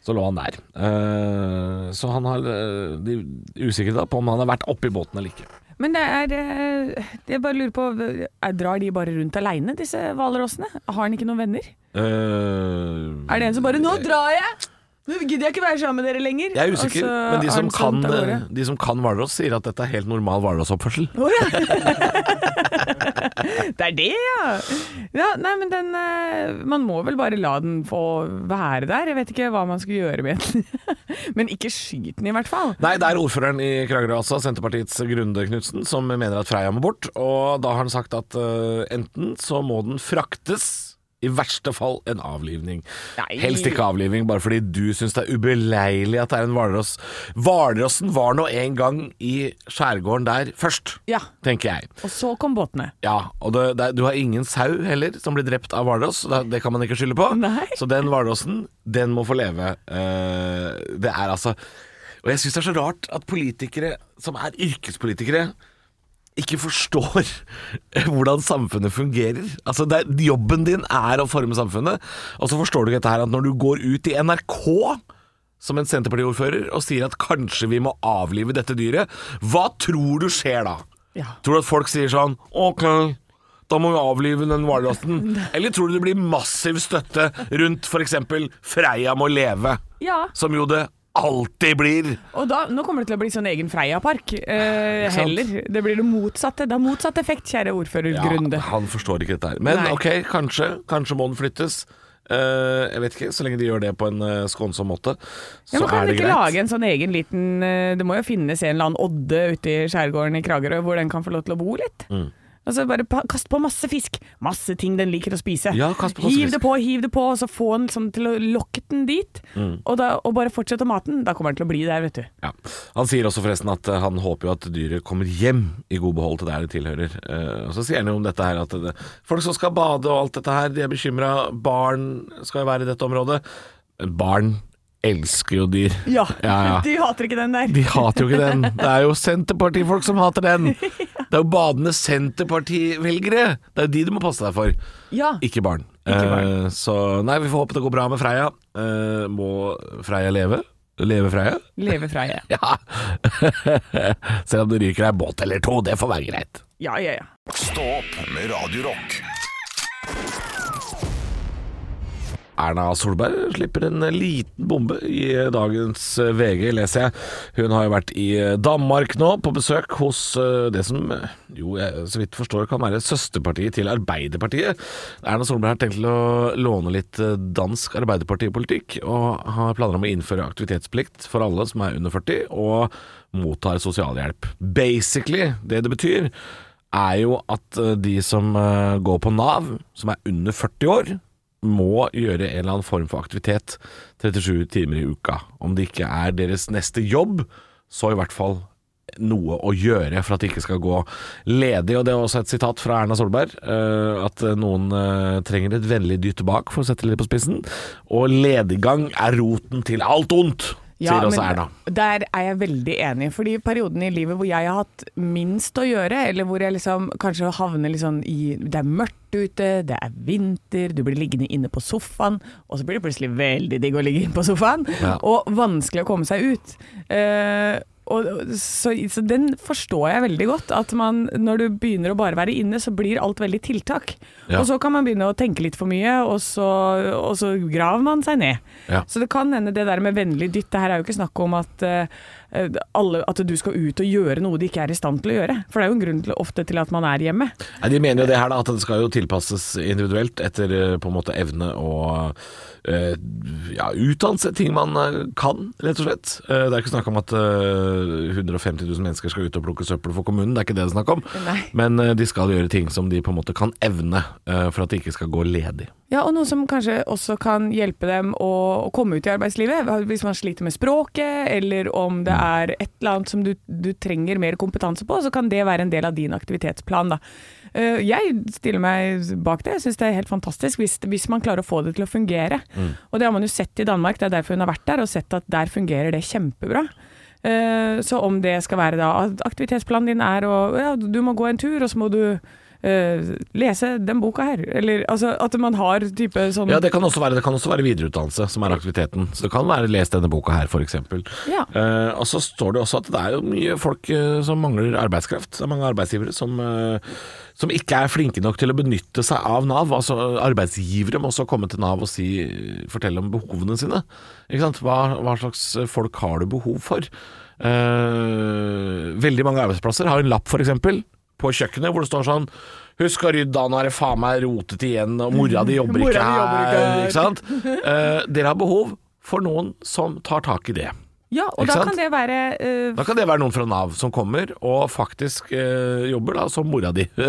Så lå han der. Eh, så han har eh, De er usikre da på om han har vært oppi båten eller ikke.
Men det er eh, Jeg bare lurer på er, Drar de bare rundt aleine, disse hvalrossene? Har han ikke noen venner?
Eh,
Er det en som bare 'Nå drar jeg! Nå gidder jeg ikke være sammen med dere lenger'.
jeg er usikker,
Og så
men de
har
som,
han
kan, eh,
svømt av gårde.
de som kan hvalross, sier at dette er helt normal hvalrossoppførsel.
Å ja. det er det, ja. ja! Nei, men den eh, Man må vel bare la den få være der. Jeg vet ikke hva man skulle gjøre med den. men ikke skyt den, i hvert fall.
Nei, det er ordføreren i Kragerø, altså, Senterpartiets Grunde Knutsen, som mener at Freia må bort. Og da har han sagt at eh, enten så må den fraktes, i verste fall en avlivning.
Nei.
Helst ikke avlivning, bare fordi du syns det er ubeleilig at det er en hvalross. Hvalrossen var nå en gang i skjærgården der først,
Ja.
tenker jeg.
Og så kom båtene.
Ja, og det, det, du har ingen sau heller som blir drept av hvalross. så Det, det kan man ikke skylde på.
Nei.
Så den hvalrossen, den må få leve. Eh, det er altså Og jeg syns det er så rart at politikere som er yrkespolitikere, ikke forstår hvordan samfunnet fungerer. Altså, det er, Jobben din er å forme samfunnet, og så forstår du ikke dette her at når du går ut i NRK som en Senterparti-ordfører og sier at kanskje vi må avlive dette dyret, hva tror du skjer da?
Ja.
Tror du at folk sier sånn Ok, da må vi avlive den hvalrossen. Eller tror du det blir massiv støtte rundt f.eks. Freia må leve,
Ja.
som jo det alltid blir.
Og da, nå kommer det til å bli sånn egen Freia-park. Eh,
Ikke sant?
heller. Det blir det motsatte. Det er motsatt effekt, kjære ordfører Grunde.
han forstår ikke dette her. Men
Nei.
ok, kanskje. Kanskje må den flyttes. Eh, jeg vet ikke, så lenge de gjør det på en eh, skånsom måte,
Ja,
så
men kan
er
vi
det
ikke
greit.
lage en sånn egen
Mm.
liten eh, Det må jo finnes en eller annen odde ute i skjærgården i Kragerø hvor den kan få lov til å bo litt? Altså bare pa- Kast på masse fisk. Masse ting den liker å spise.
Ja, kast på masse
hiv
fisk.
det på, hiv det på, og så få den sånn til å lokke den dit.
Mm.
Og, da, og bare fortsette å mate den. Da kommer den til å bli der, vet du.
Ja. Han sier også forresten at eh, han håper jo at dyret kommer hjem i god behold til der det tilhører. Eh, og Så sier han jo om dette her at det, folk som skal bade og alt dette her, de er bekymra. Barn skal jo være i dette området. Barn elsker jo dyr. ja, ja.
Du hater ikke den der.
De hater jo ikke den. Det er jo Senterpartifolk som hater den. Det er jo badende Senterparti-velgere. Det er jo de du må passe deg for,
Ja.
ikke barn.
Ikke barn.
Eh, så nei, vi får håpe det går bra med Freia. Eh, må Freia leve? Leve Freia?
Leve fra jeg.
Ja. Selv om det ryker ei båt eller to, det får være greit.
Ja, ja, ja.
Stå opp med Radio Rock.
Erna Solberg slipper en liten bombe i dagens VG, leser jeg. Hun har jo vært i eh, Danmark nå, på besøk hos eh, det som eh, jo, jeg så vidt forstår kan være søsterpartiet til Arbeiderpartiet. Erna Solberg har tenkt til å låne litt eh, dansk Arbeiderpartipolitikk, og har planer om å innføre aktivitetsplikt for alle som er under 40 og mottar sosialhjelp. Basically, det det betyr, er jo at eh, de som eh, går på Nav, som er under 40 år, må gjøre en eller annen form for aktivitet 37 timer i uka. Om det ikke er deres neste jobb, så i hvert fall noe å gjøre for at de ikke skal gå ledig. Og det er også et sitat fra Erna Solberg, eh, at noen eh, trenger et vennlig dytt bak, for å sette det litt på spissen. Og lediggang er roten til alt ondt,
Ja,
sier også
men
Erna.
Der er jeg veldig enig. Fordi perioden i livet hvor jeg har hatt minst å gjøre, eller hvor jeg liksom kanskje havner litt sånn i Det er mørkt ute, det er vinter, du blir liggende inne på sofaen, og så blir det plutselig veldig digg å ligge inne på sofaen,
Ja.
og vanskelig å komme seg ut. Eh, og, så, så den forstår jeg veldig godt. At man, når du begynner å bare være inne, så blir alt veldig tiltak.
Ja.
Og så kan man begynne å tenke litt for mye, og så, og så graver man seg ned.
Ja.
Så det kan hende det der med vennlig dytt, det her er jo ikke snakk om at, eh, alle, at du skal ut og gjøre noe de ikke er i stand til å gjøre. For det er jo en grunn til, ofte til at man er hjemme.
Nei, de mener jo det her da, at det skal jo tilpasses individuelt etter eh, på en måte evne og eh, ja, utdannelse, ting man eh, kan, rett og slett. Eh, det er ikke snakk om at eh, 150 000 mennesker skal ut og plukke søppel for kommunen, det er ikke det det er snakk om.
Nei.
Men eh, de skal gjøre ting som de på en måte kan evne, eh, for at de ikke skal gå ledig.
Ja, og noe som kanskje også kan hjelpe dem å, å komme ut i arbeidslivet. Hvis man sliter med språket, eller om det er et eller annet som du, du trenger mer kompetanse på, så kan det være en del av din aktivitetsplan. Da. Eh, Jeg stiller meg bak det. Jeg syns det er helt fantastisk hvis, hvis man klarer å få det til å fungere. Og det har man jo sett i Danmark, det er derfor hun har vært der, og sett at der fungerer det kjempebra. Eh, Så om det skal være da at aktivitetsplanen din er å ja, du må gå en tur, og så må du eh, lese den boka her. Eller altså at man har type sånn
Ja, det kan også være, det kan også være videreutdannelse som er aktiviteten. Så det kan være les denne boka her, f.eks.
Ja.
Eh, og så står det også at det er jo mye folk eh, som mangler arbeidskraft. Det er mange arbeidsgivere som, eh, som ikke er flinke nok til å benytte seg av Nav. Altså Arbeidsgivere må også komme til Nav og si, fortelle om behovene sine. Ikke sant? Hva, hva slags folk har du behov for? Eh, veldig mange arbeidsplasser har en lapp, f.eks. På kjøkkenet hvor det står sånn Husk å rydde, da, nå er det faen meg rotet igjen, og mora di jobber
Mora
ikke
di jobber ikke
her.
her.
Ikke sant? Eh, dere har behov for noen som tar tak i det.
Ja, og
Ikke
da
sant?
kan det være eh,
Da kan det være noen fra Nav som kommer og faktisk eh, jobber da som mora di.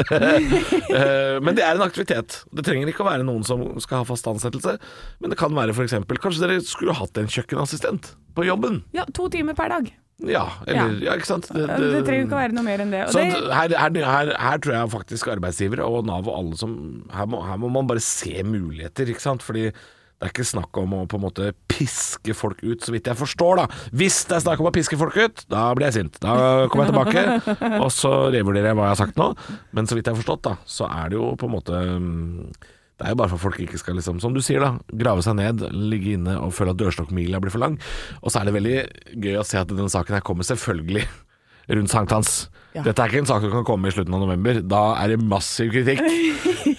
Eh, men det er en aktivitet. Det trenger ikke å være noen som skal ha fast ansettelse, men det kan være f.eks. Kanskje dere skulle hatt en kjøkkenassistent på jobben?
ja, to timer per dag.
Ja, eller Ja, ikke sant?
Det, trenger jo ikke å være noe mer enn det. Og
Så
det
Sånn, her, her, her, her tror jeg faktisk arbeidsgivere og Nav og alle som her må, her må man bare se muligheter, ikke sant? Fordi det er ikke snakk om å på en måte piske folk ut, så vidt jeg forstår, da. Hvis det er snakk om å piske folk ut, da blir jeg sint. Da kommer jeg tilbake, og så revurderer jeg hva jeg har sagt nå. Men så vidt jeg har forstått, da, så er det jo på en måte mm, det er jo bare for at folk ikke skal, liksom, som du sier, da, grave seg ned, ligge inne og føle at dørstokkmila blir for lang. Og så er det veldig gøy å se at denne saken her kommer selvfølgelig rundt sankthans.
Ja.
Dette er ikke en sak som kan komme i slutten av november. Da er det massiv kritikk.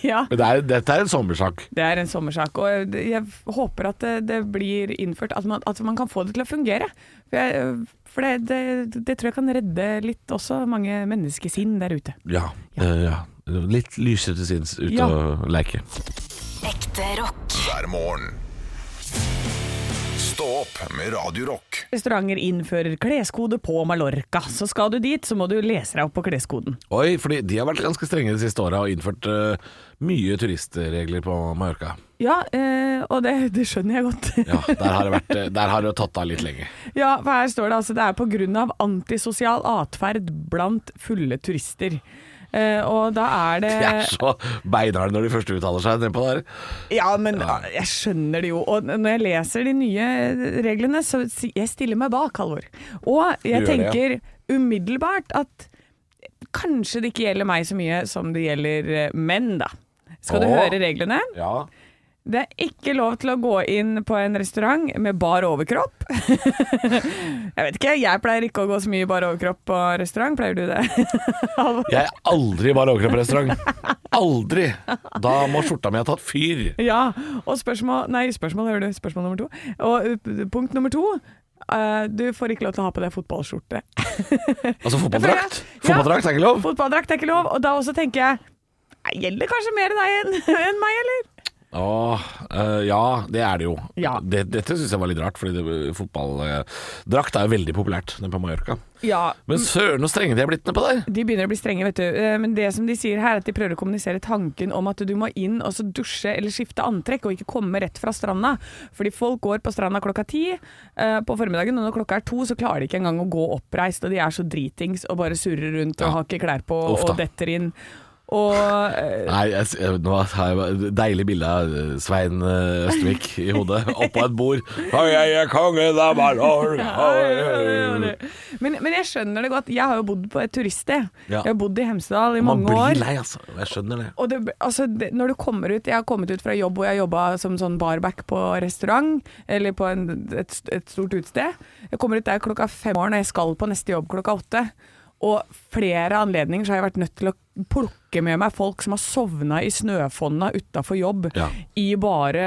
ja.
Men det er, dette er en sommersak.
Det er en sommersak, og jeg- jeg håper at det, det blir innført, at man, at man kan få det til å fungere. For, jeg, eh, for det, det, det tror jeg kan redde litt også mange menneskesinn der ute.
Ja. eh, ja. Litt lysere til sinns ute
Ja.
og leke.
Ekte rock.
hver morgen. Stå opp med Radio Rock.
restauranter innfører kleskode på Mallorca. Så skal du dit, så må du lese deg opp på kleskoden.
Oi, fordi de har vært ganske strenge de siste åra og innført eh, mye turistregler på Mallorca.
Ja, eh, og det, det skjønner jeg godt.
Ja, Der har det, vært, eh, der har det tatt av litt lenge.
Ja, for her står det altså det er pga. antisosial atferd blant fulle turister. Eh, og da er det
De er så beinharde når de først uttaler seg nedpå der.
Ja, men ah, jeg skjønner det jo. Og n- når jeg leser de nye eh, reglene, så si- jeg stiller meg bak, Halvor. Og jeg
Du gjør det,
tenker umiddelbart at kanskje det ikke gjelder meg så mye som det gjelder eh, menn, da. Skal du
Åh.
høre reglene?
Ja.
Det er ikke lov til å gå inn på en restaurant med bar overkropp. jeg vet ikke, jeg pleier ikke å gå så mye i bar overkropp på restaurant. Pleier du det? Halvor?
Jeg er aldri i bar overkropp-restaurant. Aldri! Da må skjorta mi ha tatt fyr.
Ja. Og spørsmål Nei, spørsmål hører du. Spørsmål nummer to. Og uh, punkt nummer to. eh, du får ikke lov til å ha på deg fotballskjorte.
Altså fotballdrakt.
Ja.
Fotballdrakt er ikke lov.
Fotballdrakt er ikke lov, og da også tenker jeg nei, Gjelder kanskje mer deg enn enn meg, eller?
Åh, eh, ja, det er det jo.
Ja.
Det, dette syns jeg var litt rart, fordi det- fotballdrakt er jo veldig populært nede på Mallorca.
Ja.
Men søren så strenge de er blitt nedpå der.
De begynner å bli strenge, vet du. Eh, Men det som de sier her, er at de prøver å kommunisere tanken om at du må inn og så dusje eller skifte antrekk, og ikke komme rett fra stranda. Fordi folk går på stranda klokka ti eh, på formiddagen, og når klokka er to, så klarer de ikke engang å gå oppreist, og de er så dritings og bare surrer rundt
Ja.
og har ikke klær på
Uff da.
og detter inn. Og eh,
Nei, jeg, jeg- nå har jeg bare- deilig bilde av eh, Svein eh, Østvik i hodet, oppå et bord. Hei, jeg er kongen av Mallorca.
men, men jeg skjønner det godt. Jeg har jo bodd på et turiststed.
Ja.
Jeg har bodd i Hemsedal i
Man
mange år.
blir lei, altså. Jeg skjønner det.
Og det, altså, det, når du kommer ut Jeg har kommet ut fra jobb hvor jeg jobba som sånn barback på restaurant, eller på en, et, et stort utested. Jeg kommer ut der klokka fem om morgenen, og jeg skal på neste jobb klokka åtte. Og flere anledninger så har jeg vært nødt til å plukke med meg folk som har sovna i snøfonna utafor jobb,
Ja.
i bare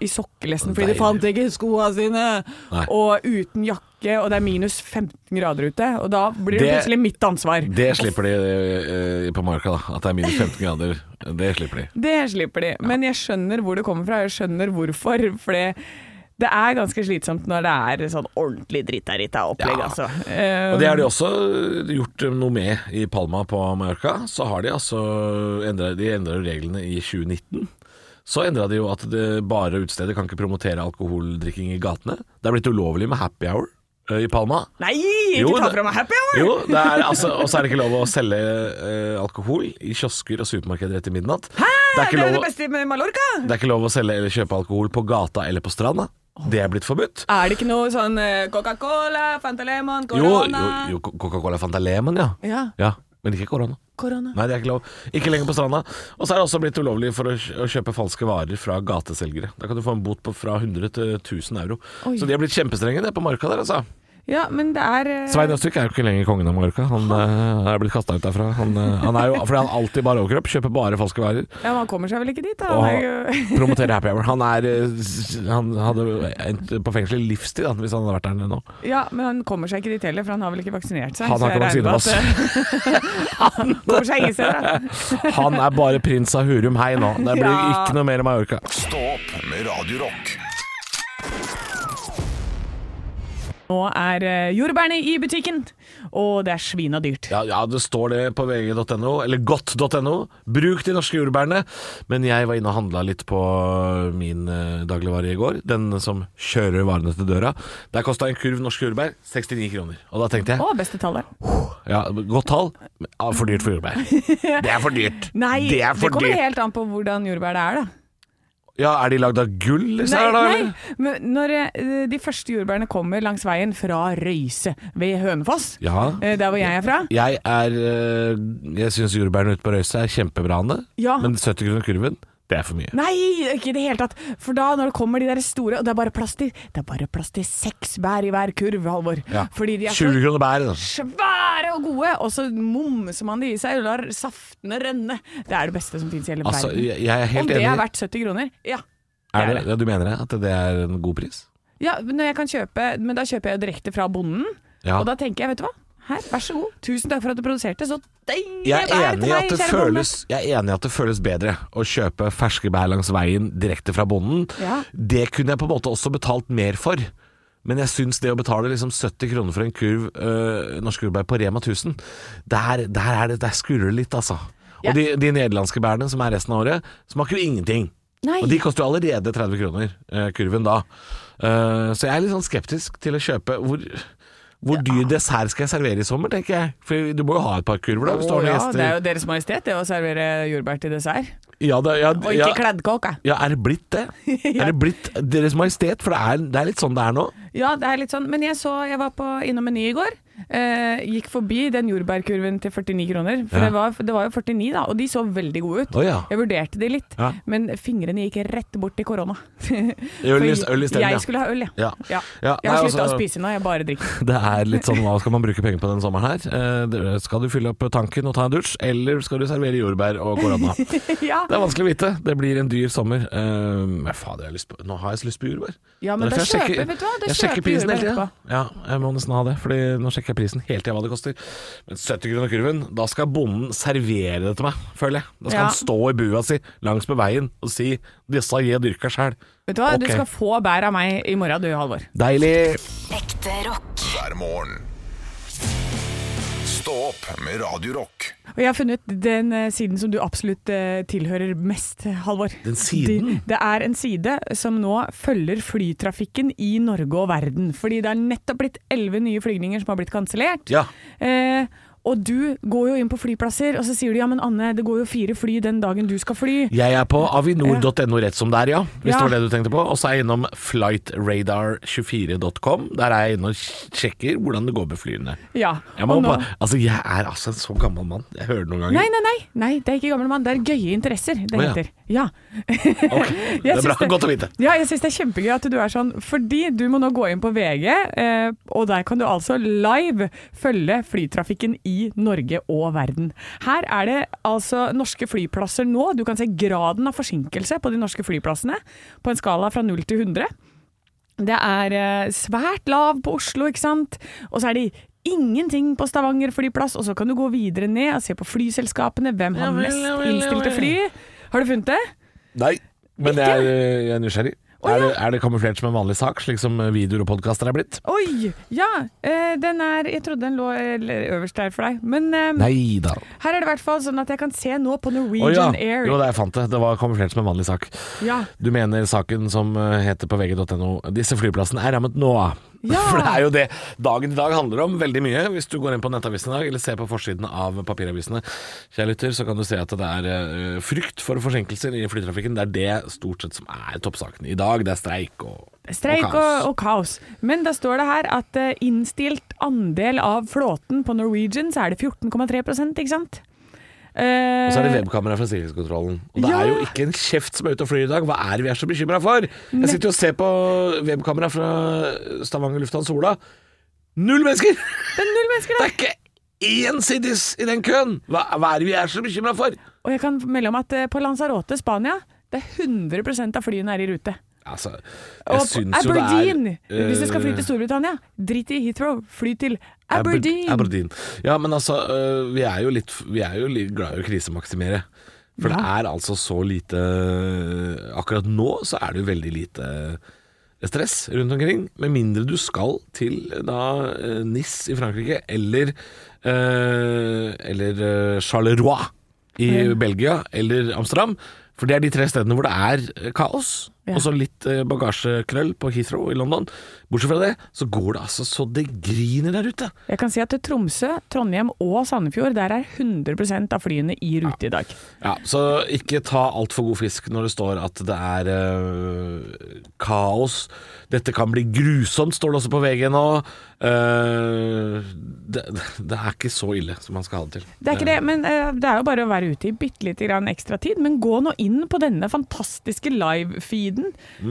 i sokkelesten fordi
Deilig.
de fant ikke skoa sine,
Nei.
og uten jakke, og det er minus 15 grader ute. Og da blir det,
Det-
plutselig mitt ansvar.
Det slipper de eh, på Mallorca, da. At det er minus 15 grader. Det slipper de.
Det slipper de. Men jeg skjønner hvor det kommer fra, jeg skjønner hvorfor. For det er ganske slitsomt når det er sånn ordentlig drita-rita-opplegg,
Ja.
altså.
Og det har de også eh, gjort noe med i Palma på Mallorca. Så har de altså endret, de endret jo reglene i 2019. Så endra de jo at det bare utestedet kan ikke promotere alkoholdrikking i gatene. Det er blitt ulovlig med happy hour eh, i Palma.
Nei,
Jo,
ikke ta
det-
fra meg happy hour!
Jo, det er altså, Og så er det ikke lov å selge eh, alkohol i kiosker og supermarkeder etter midnatt. Det er
Det
ikke
er jo
lov,
det
å-
beste med Mallorca!
det er ikke lov å selge eller kjøpe alkohol på gata eller på stranda. Det er blitt forbudt.
Er det ikke noe sånn eh, Coca-Cola, Fanta Lemon,
Jo,
Corona
jo, jo Coca-Cola Fanta Lemon, ja.
Ja,
ja. Men ikke korona.
korona.
Nei, det er ikke lov. Ikke lenger på stranda. Og så er det også blitt ulovlig for å kj- å kjøpe falske varer fra gateselgere. Da kan du få en bot på fra 100 til 1000 euro.
Oi.
Så de har blitt kjempestrenge det på Marka der, altså.
Ja, men det er eh,
Svein Østvik er jo ikke lenger kongen av Mallorca. Han eh, er blitt kasta ut derfra. Han, eh, han er jo fordi han alltid bare overkropp, kjøper bare falske varer
Ja, man kommer seg vel ikke dit, da.
og
Han er jo-
promoterer happy hour. Han, er, eh, s- han hadde endt på fengsel i livstid da, hvis han hadde vært der nå.
Ja, men han kommer seg ikke dit heller, for han har vel ikke vaksinert seg.
Han har
så jeg
ikke
regner med
vaksine, altså.
at, eh, han kommer seg ingen steder, da.
Han er bare prins av Hurum, hei nå. Det blir
Ja.
ikke noe mer Mallorca.
Stå opp med Radio Rock.
Nå er eh, jordbærene i butikken, og det er svin og dyrt.
Ja, ja, det står det på vg.no, eller godt.no. Bruk de norske jordbærene. Men jeg var inne og handla litt på min eh, dagligvare i går. Den som kjører varene til døra. Der kosta en kurv norske jordbær 69 kroner. Og da tenkte jeg
Å, beste tallet.
ja, godt tall, men ja, for dyrt for jordbær. Det er for dyrt.
Nei,
det
det,
er for
kommer
dyrt.
helt an på hvordan jordbær det er, da.
Ja, er de lagd av gull? Liksom,
Nei,
da, eller?
nei, men når eh, de første jordbærene kommer langs veien fra Røyse ved Hønefoss,
Ja.
eh, der hvor jeg er fra
Jeg er eh, Jeg syns jordbærene ute på Røyse er kjempebra, Anne.
Ja.
Men 70 kroner kurven, det er for mye.
Nei, ikke i det hele tatt. For da, når det kommer de der store, og det er bare plass til Det er bare plass til seks bær i hver kurv, Halvor.
Ja.
Fordi de er så
20 kroner bæret, altså. da.
svære og gode, og så mumser man de i seg og lar saftene renne. Det er det beste som fins i hele
Altså,
verden.
jeg, jeg er helt
Om det
enig.
er verdt 70 kroner? Ja.
Er
Det er
det, ja, du mener det? At det er en god pris?
Ja, men når jeg kan kjøpe, men da kjøper jeg jo direkte fra bonden.
Ja.
Og da tenker jeg, vet du hva, her, vær så god. Tusen takk for at du produserte så deilige
Jeg
bær
er, enig
til
i
meg,
at det
kjære
føles, jeg er enig i at det føles bedre å kjøpe ferske bær langs veien direkte fra bonden.
Ja.
Det kunne jeg på en måte også betalt mer for. Men jeg syns det å betale liksom 70 kroner for en kurv øh, norsk jordbær på Rema 1000, der, der, er det, der skurrer det litt, altså.
Ja.
Og de, de nederlandske bærene som er resten av året, smaker jo ingenting.
Nei.
Og de koster jo allerede 30 kroner, eh, kurven da. Eh, så jeg er litt sånn skeptisk til å kjøpe hvor, hvor dyr dessert skal jeg servere i sommer, tenker jeg. For du må jo ha et par kurver da, hvis du har
Å,
noen
ja,
gjester.
det er jo Deres Majestet det å servere jordbær til dessert.
Ja, det, ja,
Og
ja,
ikke kleddkåk. jeg.
ja, er det blitt det?
Ja.
Er det blitt Deres Majestet? For det er, det er litt sånn det er nå.
Ja, det er litt sånn. Men jeg så, jeg var på innom Meny i går. Eh, gikk forbi den jordbærkurven til 49 kroner. For
Ja.
det, var, det var jo 49, da, og de så veldig gode ut.
Å ja.
Jeg vurderte de litt,
Ja.
men fingrene gikk rett bort til korona.
Øl i-
For
øl i stedet, ja.
Jeg skulle ha øl, jeg.
Ja.
Ja.
Ja,
Jeg har
nei,
slutta å
altså-
spise nå, jeg bare drikker.
Det er litt sånn, hva skal man bruke penger på den sommeren her? Eh, det- skal du fylle opp tanken og ta en dusj, eller skal du servere jordbær og korona? Det
ja.
er vanskelig å vite. Det blir en dyr sommer. Eh, men fader, jeg har lyst på, nå har jeg så lyst på jordbær.
Ja, men
Det er
da
derfor jeg
kjøper- vet du hva? Da
jeg sjekker
kjøper
prisen
jordbær
hele tida. Ja, jeg må nesten ha det, Fordi nå sjekker jeg prisen hele tida hva det koster. Men 70 kroner kurven, da skal bonden servere det til meg, føler jeg. Da skal
Ja.
han stå i bua si langs med veien og si 'disse har jeg dyrka sjæl'.
Vet du hva,
Ok.
du skal få bær av meg i morgen du, Halvor.
Deilig!
Ekte rock.
hver morgen. Stå opp med Radio Rock.
Og jeg har funnet den eh, siden som du absolutt eh, tilhører mest, Halvor.
Den siden?
Det, det er en side som nå følger flytrafikken i Norge og verden. Fordi det er nettopp blitt elleve nye flygninger som har blitt kansellert.
Ja.
Eh, og du går jo inn på flyplasser, og så sier du ja, men Anne, det går jo fire fly den dagen du skal fly.
Jeg er på avinor.no rett som det er, ja. Hvis
Ja.
det var det du tenkte på. Og så er jeg innom flightradar24.com. Der er jeg inne og sjekker hvordan det går med flyene.
Ja.
Jeg, må
og nå-
bare, altså, jeg er altså en så gammel mann. Jeg hører det noen ganger.
Nei, nei, nei, nei, det er ikke gammel mann, det er gøye interesser det
Å, ja.
heter. Ja.
Ok, Det
Jeg
er bra.
synes det-
Godt å vite.
Ja, jeg syns det er kjempegøy at du er sånn, fordi du må nå gå inn på VG, eh, og der kan du altså live følge flytrafikken i Norge og verden. Her er det altså norske flyplasser nå. Du kan se graden av forsinkelse på de norske flyplassene på en skala fra 0 til 100. Det er eh, svært lav på Oslo, ikke sant? Og så er det ingenting på Stavanger flyplass, og så kan du gå videre ned og se på flyselskapene. Hvem har
Ja vel,
mest
ja vel, ja
innstilte
vel.
fly? Har du funnet det?
Nei, men jeg er, eh, jeg er nysgjerrig.
Å,
er, det, er det kamuflert som en vanlig sak, slik som eh, videoer og podkaster er blitt?
Oi! Ja, eh, den er Jeg trodde den lå eh, øverst der for deg, men eh,
Nei da.
her er det i hvert fall sånn at jeg kan se nå på
Å ja.
Norwegian Air.
Jo da, jeg fant det. Det var kamuflert som en vanlig sak.
Ja.
Du mener saken som eh, heter på vg.no Disse flyplassene er rammet nå.
Ja.
For det er jo det dagen i dag handler om veldig mye. Hvis du går inn på nettavisen i dag, eller ser på forsiden av papiravisene, kjære lytter, så kan du se at det er eh, frykt for forsinkelser i flytrafikken. Det er det stort sett som er toppsaken i dag. Det er streik og
Streik og, og kaos. Men da står det her at eh, innstilt andel av flåten på Norwegian, så er det 14,3 ikke sant? Eh,
Og så er det webkamera fra sikkerhetskontrollen. Og det
Ja.
er jo ikke en kjeft som er ute og flyr i dag. Hva er det vi er så bekymra for? Jeg sitter jo og ser på webkamera fra Stavanger lufthavn Sola. Null mennesker!
Det er null mennesker
Det
der!
er ikke én siddis i den køen! Hva, hva er det vi er så bekymra for?
Og jeg kan melde om at eh, på Lanzarote, Spania, det er 100 av flyene er i rute.
Altså,
Og
jeg
på
syns jo det er
Aberdeen!
eh,
Hvis du skal fly til Storbritannia, drit i Heathrow, fly til
Aber-
Aberdeen!
Aberdeen. Ja, men altså, eh, vi er jo litt, vi er jo litt glad i å krisemaksimere. For det er altså så lite øh, Akkurat nå så er det jo veldig lite øh, stress rundt omkring. Med mindre du skal til da eh, Nice i Frankrike eller eh, Eller eh, Charleroi i Belgia eller Amsterdam. For det er de tre stedene hvor det er eh, kaos.
Ja.
Og så litt eh, bagasjekrøll på Heathrow i London. Bortsett fra det, så går det altså så det griner der ute.
Jeg kan si at til Tromsø, Trondheim og Sandefjord, der er 100 av flyene i rute i dag.
Ja, Så ikke ta altfor god fisk når det står at det er eh, kaos. Dette kan bli grusomt, står det også på VG nå. Eh, det, det er ikke så ille som man skal ha det til.
Det er ikke det, men eh, det er jo bare å være ute i bitte lite grann ekstra tid. Men gå nå inn på denne fantastiske live-feeden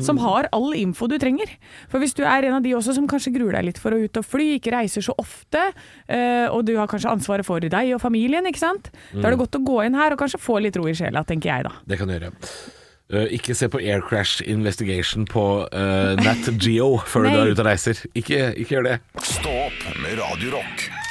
som har all info du trenger. For hvis du er en av de også som kanskje gruer deg litt for å ut og fly, ikke reiser så ofte, eh, og du har kanskje ansvaret for deg og familien, ikke sant. Da er det godt å gå inn her og kanskje få litt ro i sjela, tenker jeg da.
Det kan du gjøre. Eh, ikke se på Air Crash Investigation på eh, Nat Geo før
Nei.
du er ute og reiser. Ikke, ikke gjør det.
Stå opp med Radio Rock.